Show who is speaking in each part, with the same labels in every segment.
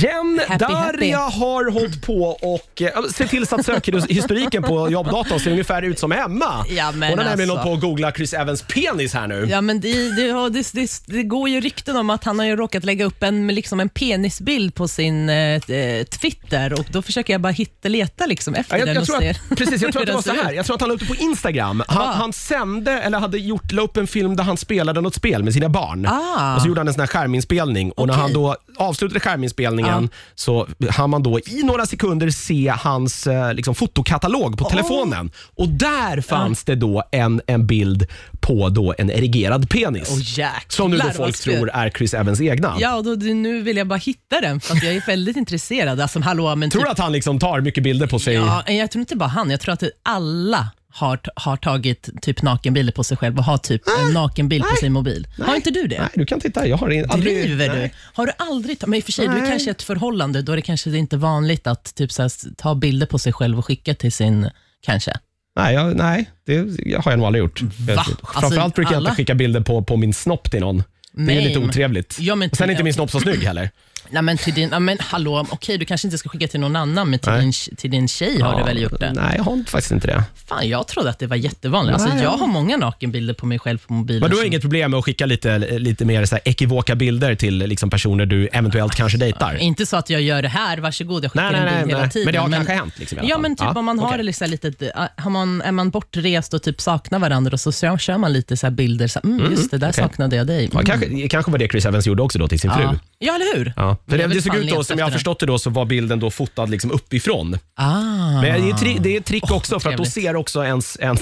Speaker 1: igen
Speaker 2: Happy,
Speaker 1: där
Speaker 2: happy.
Speaker 1: jag har hållit på och eh, se till så att sökhistoriken på jobbdatorn ser ungefär ut som Emma.
Speaker 2: Ja, men
Speaker 1: Hon har nämligen
Speaker 2: alltså.
Speaker 1: hållit på att googla Chris Evans penis här nu.
Speaker 2: Ja, men det, det, ja, det, det, det går ju rykten om att han har ju råkat lägga upp en, liksom en penisbild på sin eh, eh, Twitter och då försöker jag bara hitta, leta liksom efter
Speaker 1: Ja, jag,
Speaker 2: den
Speaker 1: jag,
Speaker 2: och
Speaker 1: tror
Speaker 2: se
Speaker 1: att, precis, jag tror
Speaker 2: hur
Speaker 1: att det
Speaker 2: den
Speaker 1: var så
Speaker 2: ser
Speaker 1: här.
Speaker 2: ut.
Speaker 1: Jag tror att han la upp det på Instagram. Han,
Speaker 2: Ah.
Speaker 1: han sände, eller hade gjort, la upp en film där han spelade något spel med sina barn.
Speaker 2: Ah.
Speaker 1: Och så gjorde han en sån här skärminspelning. Och när
Speaker 2: Okej. Ah.
Speaker 1: han då avslutade skärminspelningen så hann man då i några sekunder se hans eh, liksom, fotokatalog på telefonen. Och där
Speaker 2: Ah.
Speaker 1: fanns det då en, en bild på då en erigerad penis.
Speaker 2: Åh, jäklar,
Speaker 1: som nu då
Speaker 2: vad
Speaker 1: folk
Speaker 2: skoj.
Speaker 1: tror är Chris Evans egna.
Speaker 2: Ja, och då, nu vill jag bara hitta den för att jag är väldigt intresserad. Alltså, hallå, men
Speaker 1: Tror
Speaker 2: typ,
Speaker 1: du att han liksom tar mycket bilder på sig?
Speaker 2: ja, jag tror inte bara han, jag tror att alla har, har tagit typ nakenbilder på sig själv och har typ en nakenbild på sin mobil. Har inte du det?
Speaker 1: Nej, du kan titta. Jag har in- aldrig...
Speaker 2: Driver
Speaker 1: Nej.
Speaker 2: du? Har du aldrig tagit, men i och för sig, du är
Speaker 1: Nej.
Speaker 2: kanske i ett förhållande, då är det kanske inte vanligt att typ så här, ta bilder på sig själv och skicka till sin, kanske.
Speaker 1: Nej, jag, nej det har jag nog aldrig gjort. Jag- Framförallt
Speaker 2: Alltså,
Speaker 1: brukar jag
Speaker 2: alla-
Speaker 1: inte skicka bilder på, på min snopp till någon. Det är
Speaker 2: Nej,
Speaker 1: ju lite
Speaker 2: men-
Speaker 1: otrevligt.
Speaker 2: Ja, men
Speaker 1: Och Sen är
Speaker 2: till-
Speaker 1: inte min snopp så snygg heller.
Speaker 2: Nej men till din, ja, men hallå, okej du kanske inte ska skicka till någon annan, men till,
Speaker 1: Nej.
Speaker 2: din, till din tjej har du väl gjort det?
Speaker 1: Nej, jag har inte- faktiskt inte det.
Speaker 2: Fan, jag trodde att det var jättevanligt. Alltså,
Speaker 1: Nej.
Speaker 2: jag har många nakenbilder på mig själv på mobilen.
Speaker 1: Men du har
Speaker 2: som-
Speaker 1: inget problem med att skicka lite, lite mer så här ekivoka bilder till liksom personer du eventuellt kanske dejtar?
Speaker 2: Inte så att jag gör det här, varsågod, jag skickar
Speaker 1: Nej, nej, nej,
Speaker 2: en bild hela
Speaker 1: nej.
Speaker 2: tiden.
Speaker 1: Men det har kanske hänt liksom i alla
Speaker 2: Ja,
Speaker 1: fall.
Speaker 2: men typ
Speaker 1: Ja,
Speaker 2: om man har
Speaker 1: okej.
Speaker 2: det liksom lite, äh, har man, är man bortrest och typ saknar varandra och så kör kör man lite så här bilder, så här, mm, just det, där saknade jag dig.
Speaker 1: Ja,
Speaker 2: Mm.
Speaker 1: kanske, kanske var det Chris Evans gjorde också då till sin fru.
Speaker 2: Ja. ja, eller hur?
Speaker 1: Ja. För
Speaker 2: Men
Speaker 1: det,
Speaker 2: jag
Speaker 1: det
Speaker 2: vill
Speaker 1: såg
Speaker 2: fan
Speaker 1: ut då,
Speaker 2: leta
Speaker 1: som jag har
Speaker 2: efter
Speaker 1: förstått det, då, så var bilden då fotad liksom uppifrån.
Speaker 2: den. Ah.
Speaker 1: Men det är, tri- det är ett trick också för att då
Speaker 2: trevligt.
Speaker 1: ser också ens, ens,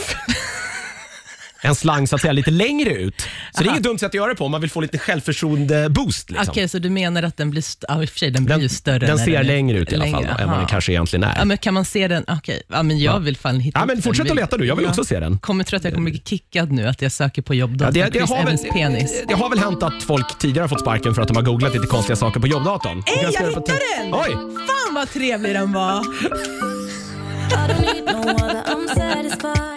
Speaker 1: en slang så att säga lite längre ut. Så det är inget dumt sätt att göra det på om man vill få lite självförtroende-boost. Liksom.
Speaker 2: Okej, så du menar att den blir, st- ja, i och för sig, den blir ju större.
Speaker 1: den
Speaker 2: när
Speaker 1: ser
Speaker 2: är-
Speaker 1: längre ut i alla fall
Speaker 2: längre,
Speaker 1: då, än vad den
Speaker 2: aha.
Speaker 1: kanske egentligen är.
Speaker 2: Ja, men kan man se den? Okej, ja, men jag vill fan hitta
Speaker 1: Ja,
Speaker 2: upp
Speaker 1: men
Speaker 2: den
Speaker 1: fortsätt att
Speaker 2: bilden.
Speaker 1: leta du, jag vill
Speaker 2: Ja.
Speaker 1: också se den.
Speaker 2: Kommer tror att jag kommer bli kickad nu att jag söker på jobb
Speaker 1: Ja, det, det,
Speaker 2: Chris
Speaker 1: har väl,
Speaker 2: Evans penis.
Speaker 1: det har väl hänt att folk tidigare har fått sparken för att de har googlat lite konstiga saker på jobbdatorn.
Speaker 2: Ey, jag
Speaker 1: ska
Speaker 2: hittade
Speaker 1: få te-
Speaker 2: den!
Speaker 1: Oj!
Speaker 2: Fan vad trevlig den var!
Speaker 3: I don't need no other, I'm satisfied.